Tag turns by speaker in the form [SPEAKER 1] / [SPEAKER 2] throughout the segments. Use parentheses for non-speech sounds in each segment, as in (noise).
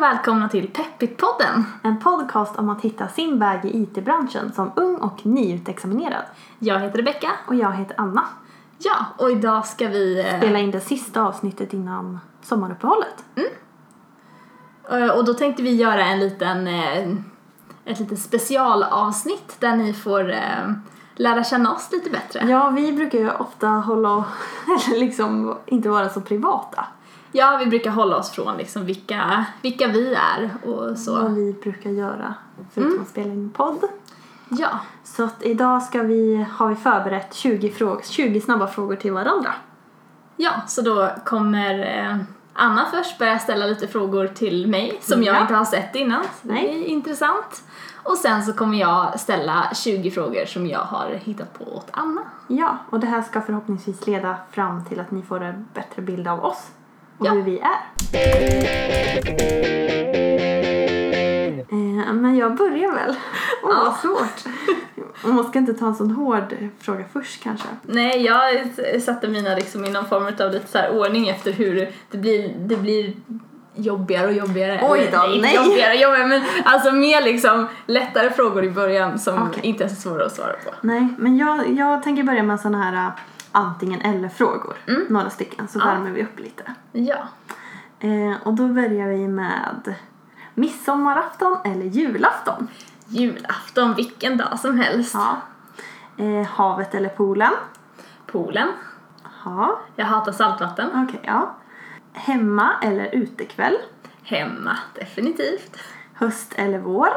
[SPEAKER 1] välkomna till Peppit-podden!
[SPEAKER 2] En podcast om att hitta sin väg i IT-branschen som ung och nyutexaminerad.
[SPEAKER 1] Jag heter Rebecka.
[SPEAKER 2] Och jag heter Anna.
[SPEAKER 1] Ja, och idag ska vi... eh,
[SPEAKER 2] Spela in det sista avsnittet innan sommaruppehållet.
[SPEAKER 1] eh, Och då tänkte vi göra en liten... eh, Ett litet specialavsnitt där ni får eh, lära känna oss lite bättre.
[SPEAKER 2] Ja, vi brukar ju ofta hålla (laughs) eller liksom inte vara så privata.
[SPEAKER 1] Ja, vi brukar hålla oss från liksom vilka, vilka vi är och
[SPEAKER 2] Vad
[SPEAKER 1] så.
[SPEAKER 2] vi brukar göra förutom att spela in podd.
[SPEAKER 1] Ja,
[SPEAKER 2] Så att idag ska vi, har vi förberett 20, frågor, 20 snabba frågor till varandra.
[SPEAKER 1] ja så då kommer eh, Anna först börja ställa lite frågor till mig som jag
[SPEAKER 2] Ja.
[SPEAKER 1] inte har sett innan. Så Det är
[SPEAKER 2] Nej.
[SPEAKER 1] intressant. Och sen så kommer jag ställa 20 frågor som jag har hittat på åt Anna.
[SPEAKER 2] Ja, och det här ska förhoppningsvis leda fram till att ni får en bättre bild av oss och
[SPEAKER 1] Ja.
[SPEAKER 2] hur vi är. Eh, Men jag börjar
[SPEAKER 1] (laughs)
[SPEAKER 2] väl. Åh,
[SPEAKER 1] Ja.
[SPEAKER 2] vad svårt. Och Man ska inte ta en sån hård fråga först kanske.
[SPEAKER 1] Nej, jag s- satte mina liksom i någon form av lite så här ordning efter hur det blir, det blir jobbigare och jobbigare.
[SPEAKER 2] Oj
[SPEAKER 1] Eller,
[SPEAKER 2] då,
[SPEAKER 1] inte
[SPEAKER 2] nej.
[SPEAKER 1] Jobbigare och jobbigare, men alltså mer liksom lättare frågor i början som
[SPEAKER 2] Okej.
[SPEAKER 1] inte är så svåra att svara på.
[SPEAKER 2] Nej, men jag, jag tänker börja med såna här eh, antingen eller-frågor.
[SPEAKER 1] Mm.
[SPEAKER 2] Några stycken, så värmer vi upp lite.
[SPEAKER 1] Ja.
[SPEAKER 2] Eh, Och då börjar vi med midsommarafton eller julafton.
[SPEAKER 1] Julafton, vilken dag som helst.
[SPEAKER 2] Ja. Eh, havet eller poolen?
[SPEAKER 1] Poolen.
[SPEAKER 2] Ja.
[SPEAKER 1] Jag hatar saltvatten.
[SPEAKER 2] Okej, ja. Hemma eller utekväll?
[SPEAKER 1] Hemma, definitivt.
[SPEAKER 2] Höst eller vår?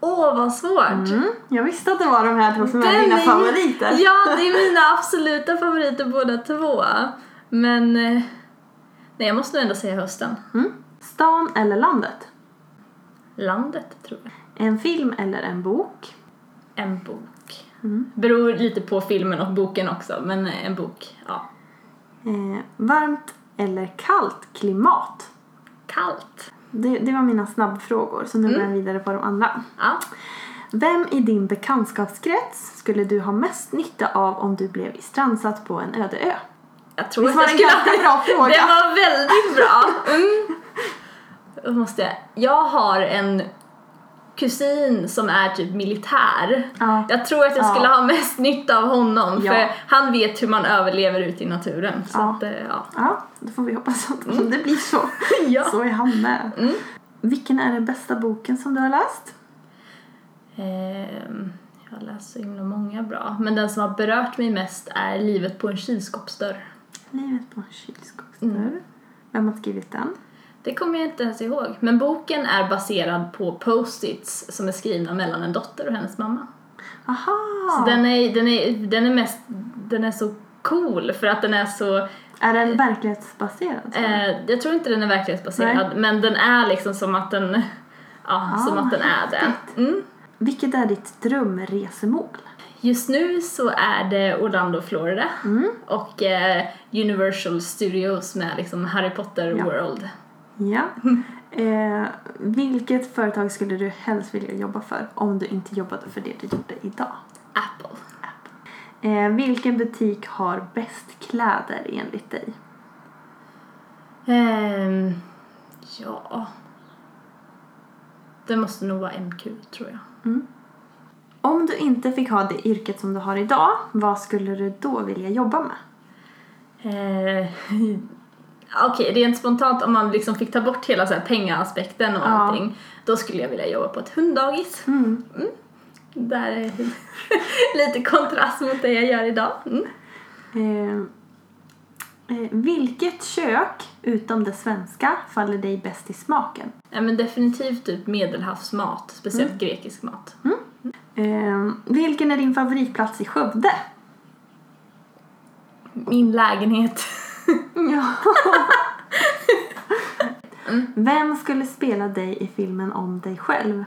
[SPEAKER 1] Åh, vad svårt!
[SPEAKER 2] Mm. Jag visste att det var de här två som är dina
[SPEAKER 1] ju-
[SPEAKER 2] favoriter.
[SPEAKER 1] Ja, det är mina absoluta favoriter båda två. Men... eh, Nej, jag måste nog ändå säga hösten.
[SPEAKER 2] Mm. Stan eller landet?
[SPEAKER 1] Landet, tror jag.
[SPEAKER 2] En film eller en bok?
[SPEAKER 1] En bok.
[SPEAKER 2] Mm.
[SPEAKER 1] Beror lite på filmen och boken också, men eh, en bok, ja.
[SPEAKER 2] Eh, varmt eller kallt klimat?
[SPEAKER 1] Kallt.
[SPEAKER 2] Det, det var mina snabbfrågor, så nu går
[SPEAKER 1] Mm.
[SPEAKER 2] jag vidare på de andra.
[SPEAKER 1] Ja.
[SPEAKER 2] Vem i din bekantskapskrets skulle du ha mest nytta av om du blev strandsatt på en öde ö?
[SPEAKER 1] Jag tror
[SPEAKER 2] Visst
[SPEAKER 1] att
[SPEAKER 2] var
[SPEAKER 1] jag
[SPEAKER 2] det en
[SPEAKER 1] skulle...
[SPEAKER 2] ganska bra fråga?
[SPEAKER 1] Det var väldigt
[SPEAKER 2] (laughs)
[SPEAKER 1] bra. Mm. Då måste jag. jag har en kusin som är typ militär.
[SPEAKER 2] Ja.
[SPEAKER 1] Jag tror att jag
[SPEAKER 2] Ja.
[SPEAKER 1] skulle ha mest nytta av honom
[SPEAKER 2] Ja.
[SPEAKER 1] för han vet hur man överlever ute i naturen. Så
[SPEAKER 2] Ja.
[SPEAKER 1] att, eh, ja.
[SPEAKER 2] (laughs) Ja, då får vi hoppas att
[SPEAKER 1] Mm.
[SPEAKER 2] det blir så.
[SPEAKER 1] Ja. Mm.
[SPEAKER 2] Så är han med. Vilken är den bästa boken som du har läst?
[SPEAKER 1] Ehm, jag har läst så himla många bra. Men den som har berört mig mest är Livet på en kylskåpsdörr.
[SPEAKER 2] Livet på en kylskåpsdörr.
[SPEAKER 1] Mm.
[SPEAKER 2] Vem har skrivit den?
[SPEAKER 1] Det kommer jag inte ens ihåg. Men boken är baserad på post-its som är skrivna mellan en dotter och hennes mamma.
[SPEAKER 2] Aha!
[SPEAKER 1] Så den är, den är, den är mest, den är så cool för att den är så,
[SPEAKER 2] Är den verklighetsbaserad?
[SPEAKER 1] eh, jag tror inte den är verklighetsbaserad men den är liksom som att den, (laughs) ja
[SPEAKER 2] Ah,
[SPEAKER 1] som att den är det. Mm.
[SPEAKER 2] Vilket är ditt drömresemål?
[SPEAKER 1] Just nu så är det Orlando, Florida
[SPEAKER 2] Mm.
[SPEAKER 1] och eh, Universal Studios med liksom Harry Potter
[SPEAKER 2] Ja.
[SPEAKER 1] World.
[SPEAKER 2] Ja.
[SPEAKER 1] Mm.
[SPEAKER 2] Eh, vilket företag skulle du helst vilja jobba för om du inte jobbade för det du gjorde idag?
[SPEAKER 1] Apple.
[SPEAKER 2] Eh, vilken butik har bäst kläder enligt dig?
[SPEAKER 1] Ehm, ja. Det måste nog vara MQ tror jag.
[SPEAKER 2] Om du inte fick ha det yrket som du har idag, vad skulle du då vilja jobba med?
[SPEAKER 1] Eh, (laughs) Okej, rent spontant om man liksom fick ta bort hela så här pengaspekten och
[SPEAKER 2] Ja.
[SPEAKER 1] allting. Då skulle jag vilja jobba på ett hunddagis.
[SPEAKER 2] Mm.
[SPEAKER 1] Där är (laughs) lite kontrast mot det jag gör idag. Mm.
[SPEAKER 2] Eh, eh, vilket kök, utom det svenska, faller dig bäst i smaken?
[SPEAKER 1] Ja, men definitivt typ medelhavsmat, speciellt grekisk mat.
[SPEAKER 2] Eh, vilken är din favoritplats i Skövde?
[SPEAKER 1] Min lägenhet. (laughs)
[SPEAKER 2] (laughs) Ja. Mm. Vem skulle spela dig i filmen om dig själv?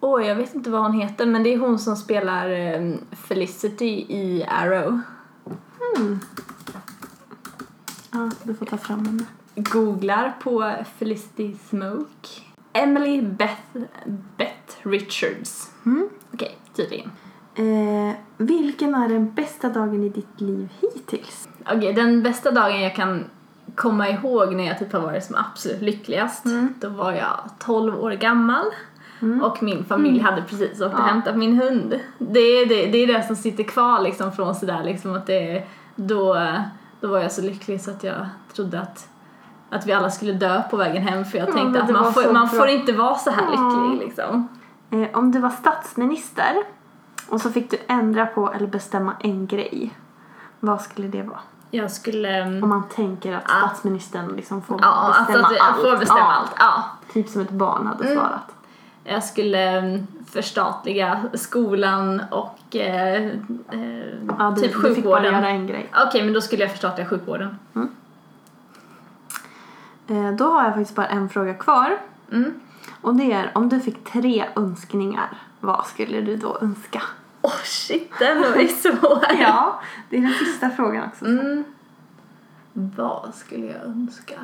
[SPEAKER 1] Åh, jag vet inte vad hon heter men det är hon som spelar eh, Felicity i Arrow.
[SPEAKER 2] Ja, du får ta fram henne.
[SPEAKER 1] Googlar på Felicity Smoke. Emily Beth, Beth Richards.
[SPEAKER 2] Mm.
[SPEAKER 1] Okej, tydligen.
[SPEAKER 2] Eh, vilken är den bästa dagen i ditt liv hittills?
[SPEAKER 1] Okej, den bästa dagen jag kan komma ihåg när jag typ har varit som absolut lyckligast.
[SPEAKER 2] Mm.
[SPEAKER 1] Då var jag 12 år gammal och min familj hade precis åkt och
[SPEAKER 2] Mm. Ja.
[SPEAKER 1] hämtat min hund. Det är det, det är det som sitter kvar liksom från sådär liksom att det då, då var jag så lycklig så att jag trodde att att vi alla skulle dö på vägen hem för jag
[SPEAKER 2] Ja,
[SPEAKER 1] tänkte
[SPEAKER 2] men
[SPEAKER 1] att
[SPEAKER 2] det
[SPEAKER 1] man
[SPEAKER 2] var
[SPEAKER 1] får,
[SPEAKER 2] så
[SPEAKER 1] man
[SPEAKER 2] bra.
[SPEAKER 1] får inte vara så här
[SPEAKER 2] Ja.
[SPEAKER 1] lycklig liksom.
[SPEAKER 2] Eh, om du var statsminister och så fick du ändra på eller bestämma en grej. Vad skulle det vara?
[SPEAKER 1] Jag skulle...
[SPEAKER 2] Om man tänker att
[SPEAKER 1] Ja.
[SPEAKER 2] statsministern liksom får
[SPEAKER 1] Ja, alltså
[SPEAKER 2] bestämma
[SPEAKER 1] att jag
[SPEAKER 2] allt.
[SPEAKER 1] får bestämma
[SPEAKER 2] Ja,
[SPEAKER 1] allt. Mm. Ja.
[SPEAKER 2] Typ som ett barn hade svarat.
[SPEAKER 1] Jag skulle eh, förstatliga skolan och eh, eh,
[SPEAKER 2] Ja,
[SPEAKER 1] typ
[SPEAKER 2] du, du fick bara
[SPEAKER 1] sjukvården.
[SPEAKER 2] göra
[SPEAKER 1] Okej,
[SPEAKER 2] en grej.
[SPEAKER 1] men då skulle jag förstatliga sjukvården.
[SPEAKER 2] Eh, då har jag faktiskt bara en fråga kvar.
[SPEAKER 1] Mm.
[SPEAKER 2] Och det är om du fick tre önskningar, vad skulle du då
[SPEAKER 1] (laughs)
[SPEAKER 2] önska?
[SPEAKER 1] Åh shit, den var ju svår. (laughs)
[SPEAKER 2] Ja, det är den sista frågan också.
[SPEAKER 1] Mm. Vad skulle jag önska?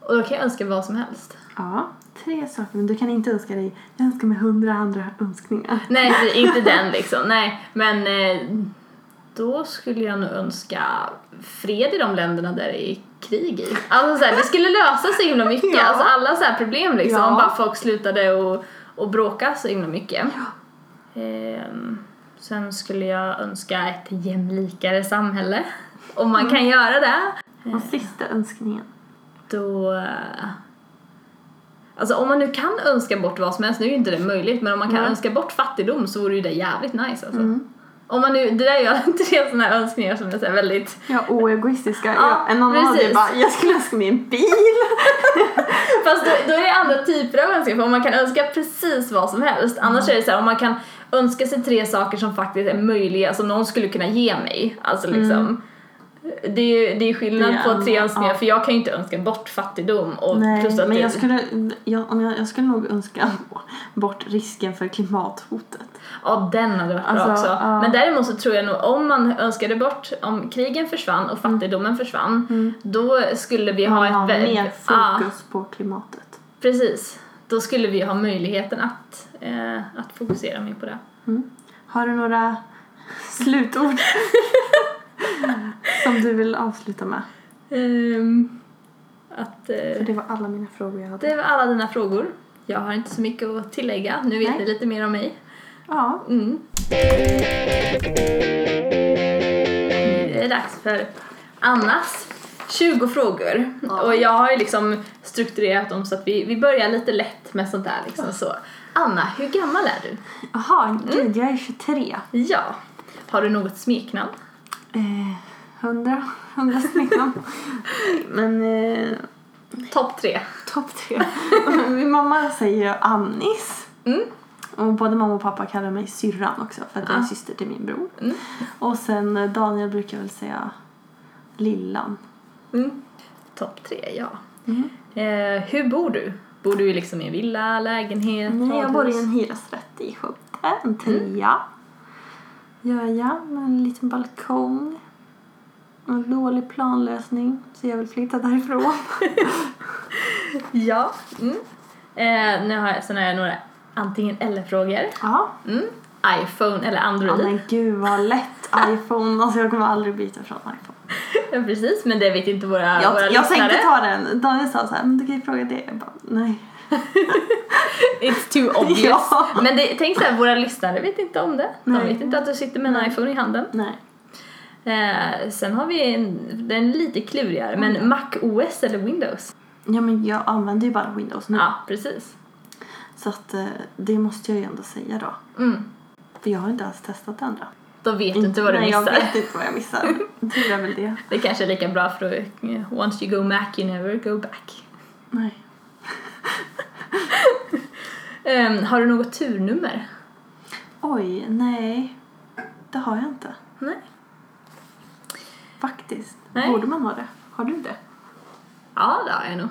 [SPEAKER 1] Och då kan jag önska vad som helst.
[SPEAKER 2] Ja, tre saker. Men du kan inte önska dig, jag önskar mig hundra andra önskningar.
[SPEAKER 1] Nej, det- inte den liksom. Nej, men eh, då skulle jag nog önska fred i de länderna där det är krig i. Alltså så här, det skulle lösa så himla mycket.
[SPEAKER 2] Ja.
[SPEAKER 1] Alltså alla så här problem liksom.
[SPEAKER 2] Ja.
[SPEAKER 1] Om bara folk slutade och, och bråka så himla mycket. Ehm, sen skulle jag önska ett jämlikare samhälle. Om man
[SPEAKER 2] Mm.
[SPEAKER 1] kan göra det.
[SPEAKER 2] Och sista önskningen.
[SPEAKER 1] Då... eh, Alltså om man nu kan önska bort vad som helst, nu är ju inte det möjligt, men om man kan
[SPEAKER 2] Nej.
[SPEAKER 1] önska bort fattigdom så vore ju det jävligt nice alltså.
[SPEAKER 2] Mm.
[SPEAKER 1] Om man nu, det där är ju (laughs) tre sådana här önskningar som är så här väldigt...
[SPEAKER 2] Ja, oegoistiska.
[SPEAKER 1] Ja,
[SPEAKER 2] Ja, en annan hade ju
[SPEAKER 1] precis.
[SPEAKER 2] bara, jag skulle önska mig en bil.
[SPEAKER 1] Fast då, då är det andra typer av önskningar, för om man kan önska precis vad som helst, annars
[SPEAKER 2] Mm.
[SPEAKER 1] är det så här, om man kan önska sig tre saker som faktiskt är möjliga, som någon skulle kunna ge mig, alltså liksom. Det är ju det är skillnad
[SPEAKER 2] Mm. Det är
[SPEAKER 1] på tre
[SPEAKER 2] en-
[SPEAKER 1] önskningar,
[SPEAKER 2] ja.
[SPEAKER 1] för jag kan ju inte önska bort fattigdom och plus
[SPEAKER 2] Nej,
[SPEAKER 1] att
[SPEAKER 2] men
[SPEAKER 1] det-
[SPEAKER 2] jag skulle, jag, om jag, jag skulle nog önska (laughs) bort risken för klimathotet.
[SPEAKER 1] Ja, den hade varit bra
[SPEAKER 2] Alltså,
[SPEAKER 1] också.
[SPEAKER 2] ja.
[SPEAKER 1] Men däremot så tror jag nog om man önskade bort, om krigen försvann och
[SPEAKER 2] Mm.
[SPEAKER 1] fattigdomen försvann, då skulle vi ha
[SPEAKER 2] Man
[SPEAKER 1] ett... Ah.
[SPEAKER 2] har
[SPEAKER 1] vä-
[SPEAKER 2] mer
[SPEAKER 1] Ja,
[SPEAKER 2] fokus på klimatet.
[SPEAKER 1] precis. Då skulle vi ha möjligheten att, eh, att fokusera mer på det.
[SPEAKER 2] Har du några (laughs)
[SPEAKER 1] (laughs)
[SPEAKER 2] slutord som du vill avsluta med?
[SPEAKER 1] Ehm, att,
[SPEAKER 2] För
[SPEAKER 1] eh,
[SPEAKER 2] det var alla mina frågor jag hade.
[SPEAKER 1] det var alla dina frågor. Jag har inte så mycket att tillägga. Nu vet
[SPEAKER 2] Nej.
[SPEAKER 1] ni lite mer om mig.
[SPEAKER 2] Ja,
[SPEAKER 1] Mm. Nu är det dags för Annas 20 frågor. Och jag har ju liksom strukturerat dem så att vi, vi börjar lite lätt med sånt där liksom så. Anna, hur gammal är du?
[SPEAKER 2] jaha,
[SPEAKER 1] Mm.
[SPEAKER 2] gud jag är 23.
[SPEAKER 1] Ja. Har du något smeknamn?
[SPEAKER 2] Eh, 100, 100 smeknamn. Men eh,
[SPEAKER 1] Topp tre.
[SPEAKER 2] topp tre. (laughs) Min mamma säger Annis.
[SPEAKER 1] Mm.
[SPEAKER 2] Och både mamma och pappa kallar mig syrran också för att jag är
[SPEAKER 1] Ah.
[SPEAKER 2] syster till min bror.
[SPEAKER 1] Mm.
[SPEAKER 2] Och sen eh, Daniel brukar väl säga lillan.
[SPEAKER 1] Mm. Topp tre, ja.
[SPEAKER 2] Mm.
[SPEAKER 1] Eh, hur bor du? Bor du liksom i en villa, lägenhet,
[SPEAKER 2] Nej, jag bor i
[SPEAKER 1] radhus?
[SPEAKER 2] en hyresrätt i Skövde, en trea.
[SPEAKER 1] Mm.
[SPEAKER 2] Gör jag, med en liten balkong. En dålig planlösning, så jag vill flytta därifrån.
[SPEAKER 1] Ja. Mm. Eh, nu har jag, sen har jag några antingen eller-frågor.
[SPEAKER 2] ja.
[SPEAKER 1] Mm. iPhone eller
[SPEAKER 2] ja,
[SPEAKER 1] Android.
[SPEAKER 2] men gud vad lätt iPhone. Alltså jag kommer aldrig byta från iPhone.
[SPEAKER 1] (laughs) Ja, precis, men det vet inte våra, våra
[SPEAKER 2] Jag, jag
[SPEAKER 1] lyssnare.
[SPEAKER 2] tänkte ta den. Daniel sa så här, men du kan ju fråga det. Jag bara, nej.
[SPEAKER 1] It's too
[SPEAKER 2] (laughs)
[SPEAKER 1] obvious.
[SPEAKER 2] Ja.
[SPEAKER 1] Men det, tänk så här, våra lyssnare vet inte om det. De
[SPEAKER 2] Nej.
[SPEAKER 1] vet inte att du sitter med en
[SPEAKER 2] Nej.
[SPEAKER 1] iPhone i handen.
[SPEAKER 2] Nej.
[SPEAKER 1] Eh, sen har vi en, den är lite klurigare,
[SPEAKER 2] Mm.
[SPEAKER 1] men Mac OS eller Windows?
[SPEAKER 2] Ja men jag använder ju bara Windows nu.
[SPEAKER 1] Ja, precis.
[SPEAKER 2] Så att eh, det måste jag ju ändå säga då.
[SPEAKER 1] Mm.
[SPEAKER 2] För jag har inte ens testat det andra.
[SPEAKER 1] Då vet du inte vad du
[SPEAKER 2] nej,
[SPEAKER 1] missar.
[SPEAKER 2] jag vet inte vad
[SPEAKER 1] (laughs)
[SPEAKER 2] jag missar. Det är väl det.
[SPEAKER 1] Det kanske är lika bra för att eh, once you go Mac you never go back.
[SPEAKER 2] Nej.
[SPEAKER 1] Ehm, har du något turnummer?
[SPEAKER 2] Oj, nej. Det har jag inte.
[SPEAKER 1] Nej.
[SPEAKER 2] Faktiskt.
[SPEAKER 1] Nej.
[SPEAKER 2] Borde man ha det? Har du
[SPEAKER 1] (laughs)
[SPEAKER 2] det?
[SPEAKER 1] Ja, det har jag nog.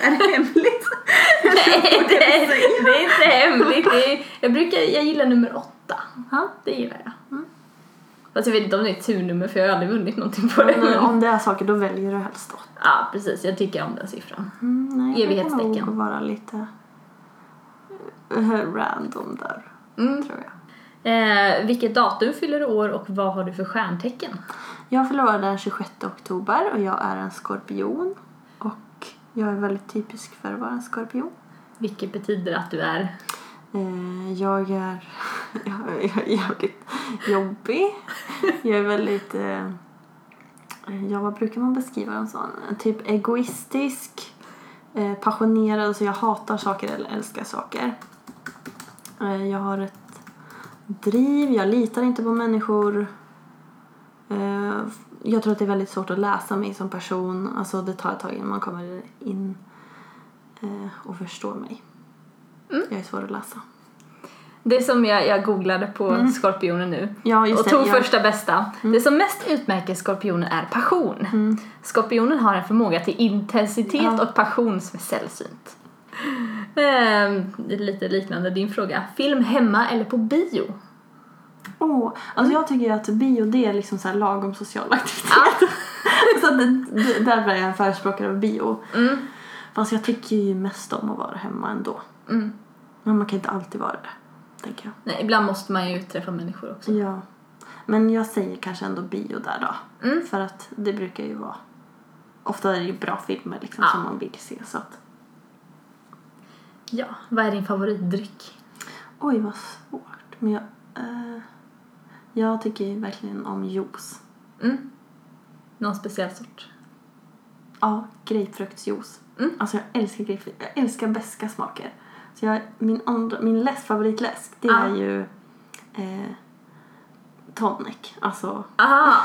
[SPEAKER 2] Är det hemligt?
[SPEAKER 1] (laughs) Nej, det, är- det är inte hemligt. Det är, jag, brukar, jag gillar nummer åtta.
[SPEAKER 2] Ja.
[SPEAKER 1] Det gillar jag. Mm. Fast jag vet inte om det är ett turnummer för jag har aldrig vunnit någonting på det.
[SPEAKER 2] Men eh,
[SPEAKER 1] Men,
[SPEAKER 2] om det är saker då väljer du helst då.
[SPEAKER 1] ja, precis. Jag tycker om den siffran.
[SPEAKER 2] Mm, nej,
[SPEAKER 1] Evighetstecken.
[SPEAKER 2] Jag kan nog vara lite eh, random där,
[SPEAKER 1] Mm.
[SPEAKER 2] tror jag.
[SPEAKER 1] Eh, vilket datum fyller du år och vad har du för stjärntecken?
[SPEAKER 2] Jag förlorade den 26 oktober och jag är en skorpion. Och jag är väldigt typisk för att vara en skorpion.
[SPEAKER 1] Vilket betyder att du är...
[SPEAKER 2] Eh, Jag är, (laughs) jag är jävligt jobbig. Jag är väldigt... eh, Ja, vad brukar man beskriva en sån? Typ egoistisk, eh, passionerad. Så jag hatar saker eller älskar saker. Eh, Jag har ett driv, jag litar inte på människor. Eh, Jag tror att det är väldigt svårt att läsa mig som person. Alltså det tar ett tag innan man kommer in eh, och förstår mig. Jag är svår att läsa.
[SPEAKER 1] Det som jag, jag googlade på skorpioner nu
[SPEAKER 2] Ja, just
[SPEAKER 1] och
[SPEAKER 2] det.
[SPEAKER 1] tog
[SPEAKER 2] ja. Mm.
[SPEAKER 1] första bästa. Det som mest utmärker skorpioner är passion. Skorpionen har en förmåga till intensitet
[SPEAKER 2] Ja.
[SPEAKER 1] och passion som är sällsynt. Ehm, det är lite liknande din fråga. Film hemma eller på bio?
[SPEAKER 2] Åh, alltså jag tycker ju att bio det är liksom så här lagom social aktivitet. (laughs) så att det, det, därför är jag en förespråkare av bio.
[SPEAKER 1] Mm.
[SPEAKER 2] Fast jag tycker ju mest om att vara hemma ändå.
[SPEAKER 1] Mm.
[SPEAKER 2] Men man kan inte alltid vara det, tänker jag.
[SPEAKER 1] Nej, ibland måste man ju träffa människor också.
[SPEAKER 2] Ja. Men jag säger kanske ändå bio där då.
[SPEAKER 1] Mm.
[SPEAKER 2] För att det brukar ju vara... Ofta är det ju bra filmer liksom
[SPEAKER 1] Ja.
[SPEAKER 2] som man vill se så att...
[SPEAKER 1] Ja, vad är din favoritdryck?
[SPEAKER 2] Oj vad svårt. Men jag... Eh, jag tycker ju verkligen om juice.
[SPEAKER 1] Mm. Någon speciell sort?
[SPEAKER 2] Ja, grapefruktsjuice.
[SPEAKER 1] Mm.
[SPEAKER 2] Alltså jag älskar grapefrukt. Jag älskar beska smaker. Så jag, min andra, min läsk, favoritläsk, det
[SPEAKER 1] Ah.
[SPEAKER 2] är ju eh, tonic. Alltså, (laughs)
[SPEAKER 1] Aha!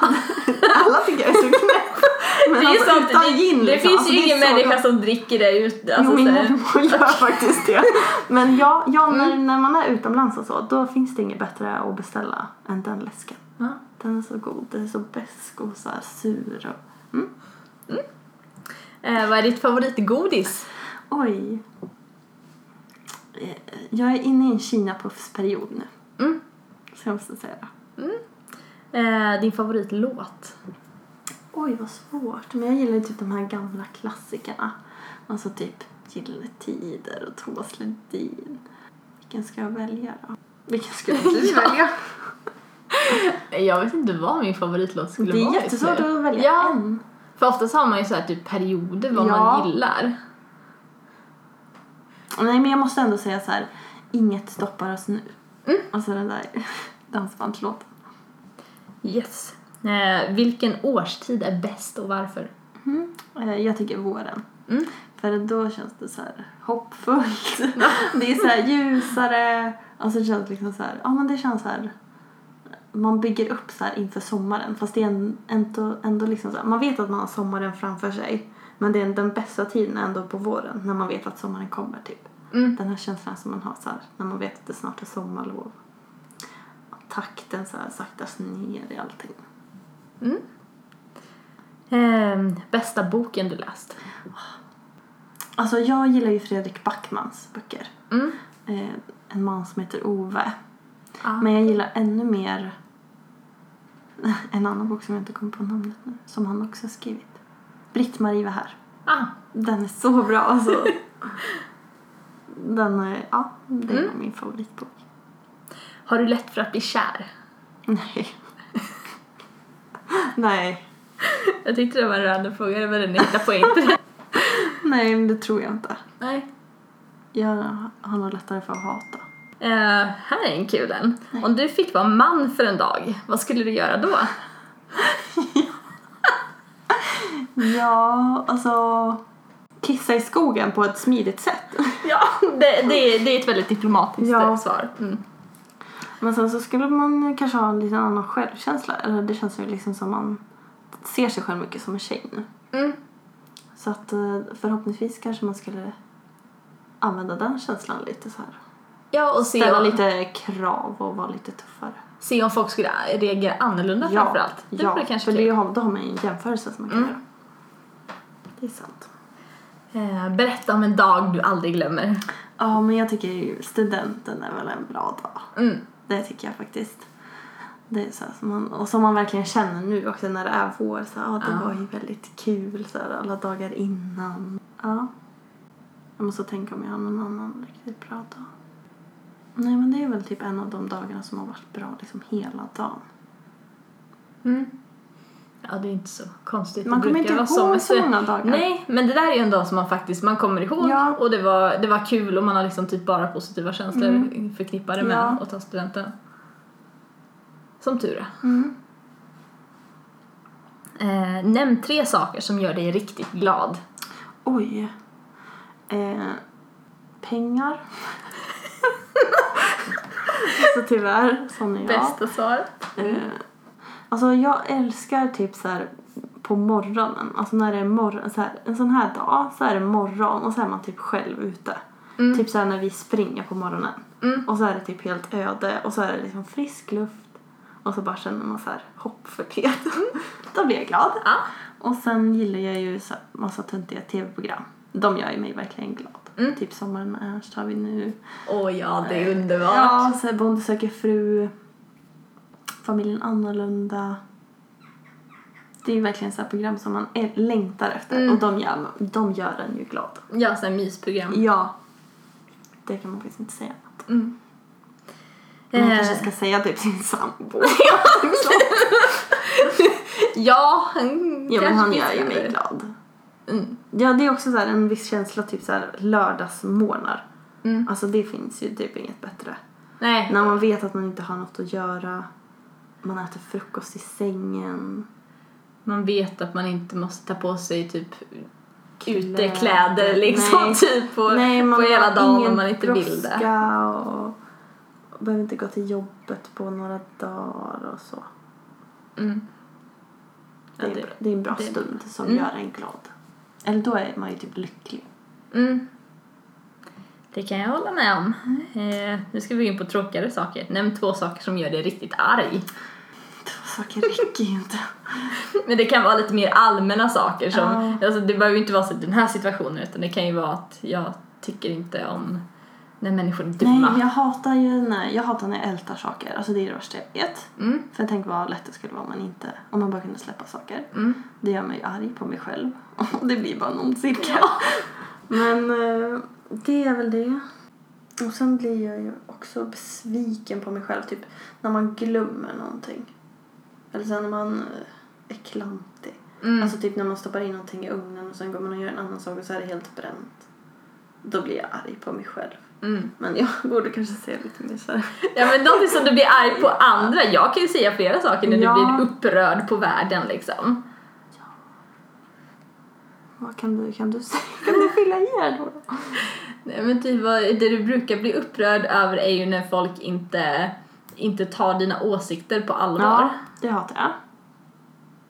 [SPEAKER 2] alla tycker jag är så knäpp.
[SPEAKER 1] (laughs)
[SPEAKER 2] Men
[SPEAKER 1] Det, är
[SPEAKER 2] alltså,
[SPEAKER 1] sant,
[SPEAKER 2] utan
[SPEAKER 1] det,
[SPEAKER 2] gin
[SPEAKER 1] det
[SPEAKER 2] liksom.
[SPEAKER 1] finns
[SPEAKER 2] Alltså,
[SPEAKER 1] ju
[SPEAKER 2] det är
[SPEAKER 1] ingen
[SPEAKER 2] så
[SPEAKER 1] människa
[SPEAKER 2] gott.
[SPEAKER 1] som dricker det ut.
[SPEAKER 2] Jo,
[SPEAKER 1] Alltså, Mm.
[SPEAKER 2] min
[SPEAKER 1] så här-
[SPEAKER 2] mormor
[SPEAKER 1] (laughs)
[SPEAKER 2] gör faktiskt det. Men ja, ja när, när man är utomlands och så, då finns det inget bättre att beställa än den läsken.
[SPEAKER 1] Ja.
[SPEAKER 2] Den är så god, den är så besk och så här sur. Och... Mm.
[SPEAKER 1] Eh, vad är ditt favoritgodis?
[SPEAKER 2] Oj. Eh, Jag är inne i en Kina-puffsperiod nu.
[SPEAKER 1] Mm.
[SPEAKER 2] Så jag måste säga det.
[SPEAKER 1] Eh, din favoritlåt?
[SPEAKER 2] Oj, vad svårt. Men jag gillar ju typ de här gamla klassikerna. Alltså typ Gyllene Tider och Thomas Ledin. Vilken ska jag välja då? Vilken skulle du välja?
[SPEAKER 1] Jag vet inte vad min favoritlåt skulle
[SPEAKER 2] Det
[SPEAKER 1] vara.
[SPEAKER 2] är jättesvårt
[SPEAKER 1] just nu.
[SPEAKER 2] att välja
[SPEAKER 1] Ja.
[SPEAKER 2] en.
[SPEAKER 1] För oftast har man ju så här typ perioder vad
[SPEAKER 2] Ja.
[SPEAKER 1] man gillar.
[SPEAKER 2] Nej, men jag måste ändå säga så här. Inget stoppar oss nu. Alltså den där dansbandslåten.
[SPEAKER 1] Yes. Eh, vilken årstid är bäst och varför?
[SPEAKER 2] Eh, Jag tycker våren.
[SPEAKER 1] Mm.
[SPEAKER 2] För då känns det så här (laughs) hoppfullt. det är så här ljusare. Alltså det känns liksom så här, ja men det känns så här. Man bygger upp så här inför sommaren. Fast det är en- ändå, ändå liksom så här, man vet att man har sommaren framför sig. Men det är den bästa tiden ändå på våren när man vet att sommaren kommer typ.
[SPEAKER 1] Mm.
[SPEAKER 2] Den här känslan som man har så här, när man vet att det snart är sommarlov. Takten så här saktas ner i allting.
[SPEAKER 1] Ehm, bästa boken du läst?
[SPEAKER 2] Alltså jag gillar ju Fredrik Backmans böcker.
[SPEAKER 1] Mm.
[SPEAKER 2] Eh, en man som heter Ove.
[SPEAKER 1] Ah.
[SPEAKER 2] Men jag gillar ännu mer (laughs) en annan bok som jag inte kommer på namnet nu, som han också har skrivit. Britt-Marie var här.
[SPEAKER 1] Ah.
[SPEAKER 2] Den är så bra alltså. Den är, ja, det är nog min favoritbok.
[SPEAKER 1] Har du lätt för att bli kär?
[SPEAKER 2] Nej. (laughs) Nej.
[SPEAKER 1] Jag tyckte det var en rörande fråga, men den
[SPEAKER 2] (laughs)
[SPEAKER 1] hittade på internet.
[SPEAKER 2] Nej, men det tror jag inte.
[SPEAKER 1] Nej.
[SPEAKER 2] Jag har nog lättare för att hata.
[SPEAKER 1] Eh, här är en kul en. Om du fick vara man för en dag, vad skulle du göra då?
[SPEAKER 2] Ja, alltså... Kissa i skogen på ett smidigt sätt.
[SPEAKER 1] Ja, det, det, är- det är ett väldigt diplomatiskt
[SPEAKER 2] Ja.
[SPEAKER 1] eh, svar. Mm.
[SPEAKER 2] Men sen så skulle man kanske ha en lite annan självkänsla. Eller det känns ju liksom som man ser sig själv mycket som en tjej nu.
[SPEAKER 1] Mm.
[SPEAKER 2] Så att eh, förhoppningsvis kanske man skulle använda den känslan lite så här.
[SPEAKER 1] Ja, och se
[SPEAKER 2] Ställa
[SPEAKER 1] om,
[SPEAKER 2] lite krav och vara lite tuffare.
[SPEAKER 1] se om folk skulle reagera annorlunda framförallt. Det
[SPEAKER 2] ja
[SPEAKER 1] vore kanske
[SPEAKER 2] för det
[SPEAKER 1] kul. Mm.
[SPEAKER 2] har, då har man ju en jämförelse som man kan göra. Det är sant.
[SPEAKER 1] Eh, berätta om en dag du aldrig glömmer.
[SPEAKER 2] Ja, men jag tycker ju studenten är väl en bra dag.
[SPEAKER 1] Mm.
[SPEAKER 2] Det tycker jag faktiskt. Det är så här som man, och som man verkligen känner nu också när det är vår. Så här, ah, det
[SPEAKER 1] Ja.
[SPEAKER 2] var ju väldigt kul så här, alla dagar innan. Ja. Jag måste tänka om jag har någon annan riktigt bra dag. Nej men det är väl typ en av de dagarna som har varit bra liksom hela dagen.
[SPEAKER 1] Ja, det är inte så konstigt.
[SPEAKER 2] Mm. Man
[SPEAKER 1] Det
[SPEAKER 2] kommer inte
[SPEAKER 1] brukar vara
[SPEAKER 2] ihåg så många dagar.
[SPEAKER 1] Nej, men det där är ju en dag som man faktiskt man kommer ihåg
[SPEAKER 2] Ja.
[SPEAKER 1] och det var, det var kul och man har liksom typ bara positiva känslor förknippade med
[SPEAKER 2] Mm. Ja.
[SPEAKER 1] att ta studenten. Som tur är.
[SPEAKER 2] Mm.
[SPEAKER 1] Eh, nämn tre saker som gör dig riktigt glad.
[SPEAKER 2] Oj. Eh, pengar.
[SPEAKER 1] (laughs)
[SPEAKER 2] (laughs) alltså tyvärr, sån är jag.
[SPEAKER 1] Bästa svar.
[SPEAKER 2] Eh, alltså jag älskar typ så här på morgonen, alltså när det är morgon, så här, en sån här dag så är det morgon och så är man typ själv ute. Typ så här när vi springer på morgonen
[SPEAKER 1] Mm.
[SPEAKER 2] och så är det typ helt öde och så är det liksom frisk luft och så bara känner man så här hoppfullhet. (laughs) Då blir jag glad.
[SPEAKER 1] Mm. Ja.
[SPEAKER 2] Och sen gillar jag ju så här massa töntiga tv-program. De gör ju mig verkligen glad.
[SPEAKER 1] Mm.
[SPEAKER 2] Typ Sommaren med Ernst har vi nu.
[SPEAKER 1] Åh ja, det är underbart.
[SPEAKER 2] Ja, så här Bonde söker fru. Familjen annorlunda. Det är ju verkligen så här program som man är, längtar efter
[SPEAKER 1] Mm.
[SPEAKER 2] och de gör, de gör en ju glad.
[SPEAKER 1] Ja, såhär mysprogram.
[SPEAKER 2] Ja. Det kan man faktiskt inte säga.
[SPEAKER 1] Mm.
[SPEAKER 2] Men man
[SPEAKER 1] Eh,
[SPEAKER 2] kanske ska säga typ
[SPEAKER 1] (laughs)
[SPEAKER 2] sin sambo.
[SPEAKER 1] Eh, Ja, han
[SPEAKER 2] ja men han
[SPEAKER 1] kanske
[SPEAKER 2] gör
[SPEAKER 1] finns
[SPEAKER 2] ju mig
[SPEAKER 1] där.
[SPEAKER 2] glad.
[SPEAKER 1] Mm.
[SPEAKER 2] Ja det är också så här en viss känsla typ så här lördagsmorgnar.
[SPEAKER 1] Mm.
[SPEAKER 2] Alltså det finns ju typ inget bättre.
[SPEAKER 1] Nej.
[SPEAKER 2] När man vet att man inte har något att göra. Man äter frukost i sängen.
[SPEAKER 1] Man vet att man inte måste ta på sig typ
[SPEAKER 2] Kläder,
[SPEAKER 1] utekläder liksom (laughs)
[SPEAKER 2] nej.
[SPEAKER 1] typ på,
[SPEAKER 2] Nej, man
[SPEAKER 1] på hela
[SPEAKER 2] har
[SPEAKER 1] dagen
[SPEAKER 2] ingen
[SPEAKER 1] om man inte vill det.
[SPEAKER 2] brådska och och behöver inte gå till jobbet på några dagar och så.
[SPEAKER 1] Mm.
[SPEAKER 2] Det
[SPEAKER 1] Ja,
[SPEAKER 2] är,
[SPEAKER 1] det-
[SPEAKER 2] det är en bra
[SPEAKER 1] det är bra.
[SPEAKER 2] stund som
[SPEAKER 1] Mm.
[SPEAKER 2] gör en glad. Eller då är man ju typ lycklig. (laughs)
[SPEAKER 1] Mm. Det kan jag hålla med om. Eh, nu ska vi gå in på tråkigare saker. Nämn två saker som gör dig riktigt
[SPEAKER 2] (laughs)
[SPEAKER 1] arg.
[SPEAKER 2] Två saker räcker ju inte.
[SPEAKER 1] Men det kan vara lite mer allmänna saker som,
[SPEAKER 2] Ja.
[SPEAKER 1] alltså det behöver ju inte vara så i den här situationen utan det kan ju vara att jag tycker inte om när människor är dumma.
[SPEAKER 2] Nej, jag hatar ju när jag, hatar när jag ältar saker. Alltså det är det värsta jag vet.
[SPEAKER 1] Mm,
[SPEAKER 2] För tänk vad lätt det skulle vara om man, inte, om man bara kunde släppa saker.
[SPEAKER 1] mm.
[SPEAKER 2] Det gör mig arg på mig själv. (laughs) Och det blir bara en ond cirkel. Men eh, det är väl det. Och sen blir jag ju också besviken på mig själv. Typ när man glömmer någonting. Eller sen när man eh, är klantig.
[SPEAKER 1] Mm.
[SPEAKER 2] Alltså typ när man stoppar in någonting i ugnen och sen går man och gör en annan sak och så är det helt bränt. Då blir jag arg på mig själv.
[SPEAKER 1] Mm.
[SPEAKER 2] Men jag (laughs) borde kanske säga lite mer så här.
[SPEAKER 1] Ja men någonting som du blir arg på andra. Jag kan ju säga flera saker när
[SPEAKER 2] Ja.
[SPEAKER 1] du blir upprörd på världen liksom.
[SPEAKER 2] Vad kan du, kan du säga? Kan du fylla i här då?
[SPEAKER 1] Nej, men typ vad, det du brukar bli upprörd över är ju när folk inte, inte tar dina åsikter på allvar.
[SPEAKER 2] Ja, det hatar jag.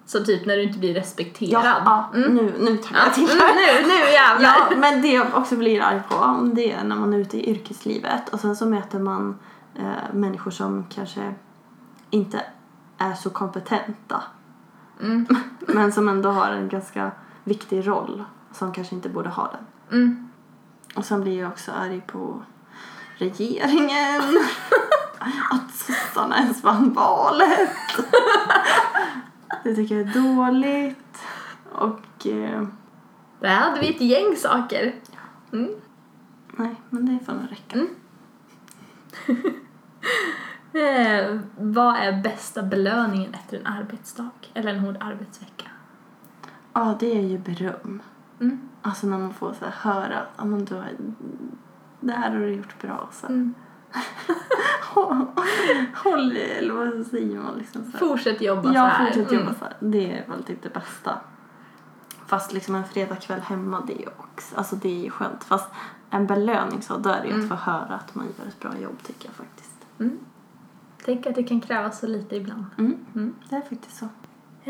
[SPEAKER 1] Så typ när du inte blir respekterad.
[SPEAKER 2] Ja, ja
[SPEAKER 1] Mm.
[SPEAKER 2] nu, nu tar
[SPEAKER 1] Ja,
[SPEAKER 2] jag till
[SPEAKER 1] mm, nu, nu (laughs) jävlar!
[SPEAKER 2] Ja, men det jag också blir arg på det är när man är ute i yrkeslivet och sen så möter man eh, människor som kanske inte är så kompetenta
[SPEAKER 1] Mm.
[SPEAKER 2] (laughs) men som ändå har en ganska viktig roll som kanske inte borde ha den.
[SPEAKER 1] Mm.
[SPEAKER 2] Och sen blir jag också arg på
[SPEAKER 1] (laughs)
[SPEAKER 2] regeringen. Att sossarna ens vann valet.
[SPEAKER 1] (laughs)
[SPEAKER 2] Det tycker jag är dåligt. Och eh,
[SPEAKER 1] Där hade vi ett gäng saker. Mm.
[SPEAKER 2] nej, men det får nog räcka.
[SPEAKER 1] Eh, vad är bästa belöningen efter en arbetsdag? Eller en hård arbetsvecka?
[SPEAKER 2] Ja, det är ju beröm.
[SPEAKER 1] Mm.
[SPEAKER 2] Alltså när man får så här höra att ah, men du har, det här har du gjort bra. Så här.
[SPEAKER 1] Mm.
[SPEAKER 2] (laughs) Håll i, eller vad säger man? Liksom, så här.
[SPEAKER 1] Fortsätt jobba så
[SPEAKER 2] Jag
[SPEAKER 1] här.
[SPEAKER 2] fortsätter jobba
[SPEAKER 1] Mm.
[SPEAKER 2] så här. Det är väl typ det bästa. Fast liksom en fredagkväll hemma, det är ju också, alltså det är ju skönt. Fast en belöning så, då är det ju att få höra att man gör ett bra jobb tycker jag faktiskt.
[SPEAKER 1] Tänk att det kan krävas så lite ibland.
[SPEAKER 2] Mm. Det är faktiskt så.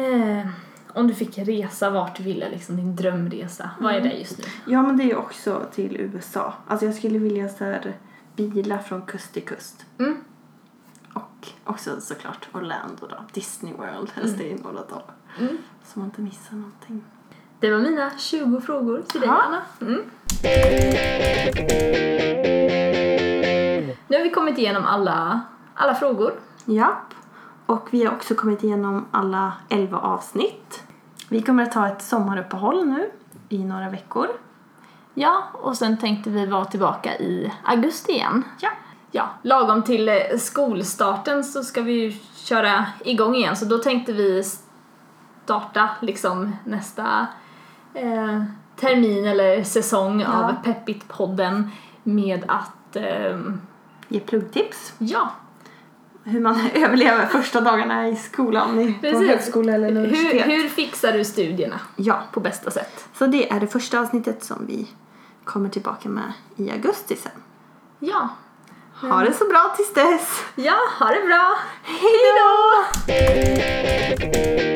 [SPEAKER 1] Eh, om du fick resa vart du ville, liksom din drömresa, vad är det just nu?
[SPEAKER 2] Ja men det är ju också till USA. Alltså jag skulle vilja så här bila från kust till kust.
[SPEAKER 1] Mm.
[SPEAKER 2] Och också såklart Orlando då, Disney World, helst det i några dagar.
[SPEAKER 1] Mm.
[SPEAKER 2] Så man inte missar någonting.
[SPEAKER 1] Det var mina 20 frågor till dig,
[SPEAKER 2] Ja.
[SPEAKER 1] Anna. Mm. Nu har vi kommit igenom alla, alla frågor.
[SPEAKER 2] Japp. Och vi har också kommit igenom alla 11 avsnitt. Vi kommer att ta ett sommaruppehåll nu i några veckor.
[SPEAKER 1] Ja, och sen tänkte vi vara tillbaka i augusti igen.
[SPEAKER 2] Ja.
[SPEAKER 1] ja, lagom till eh, skolstarten så ska vi ju köra igång igen så då tänkte vi starta liksom nästa eh, termin eller säsong
[SPEAKER 2] Ja.
[SPEAKER 1] av Peppit-podden med att ehm,
[SPEAKER 2] Ge pluggtips.
[SPEAKER 1] ja,
[SPEAKER 2] Hur man (laughs) överlever första dagarna i skolan, i, på
[SPEAKER 1] Precis.
[SPEAKER 2] högskola eller
[SPEAKER 1] hur,
[SPEAKER 2] universitet.
[SPEAKER 1] hur fixar du studierna
[SPEAKER 2] Ja,
[SPEAKER 1] på bästa sätt?
[SPEAKER 2] så det är det första avsnittet som vi kommer tillbaka med i augusti sen.
[SPEAKER 1] Ja,
[SPEAKER 2] Ha det så bra tills dess!
[SPEAKER 1] ja ha det bra!
[SPEAKER 2] Hej då!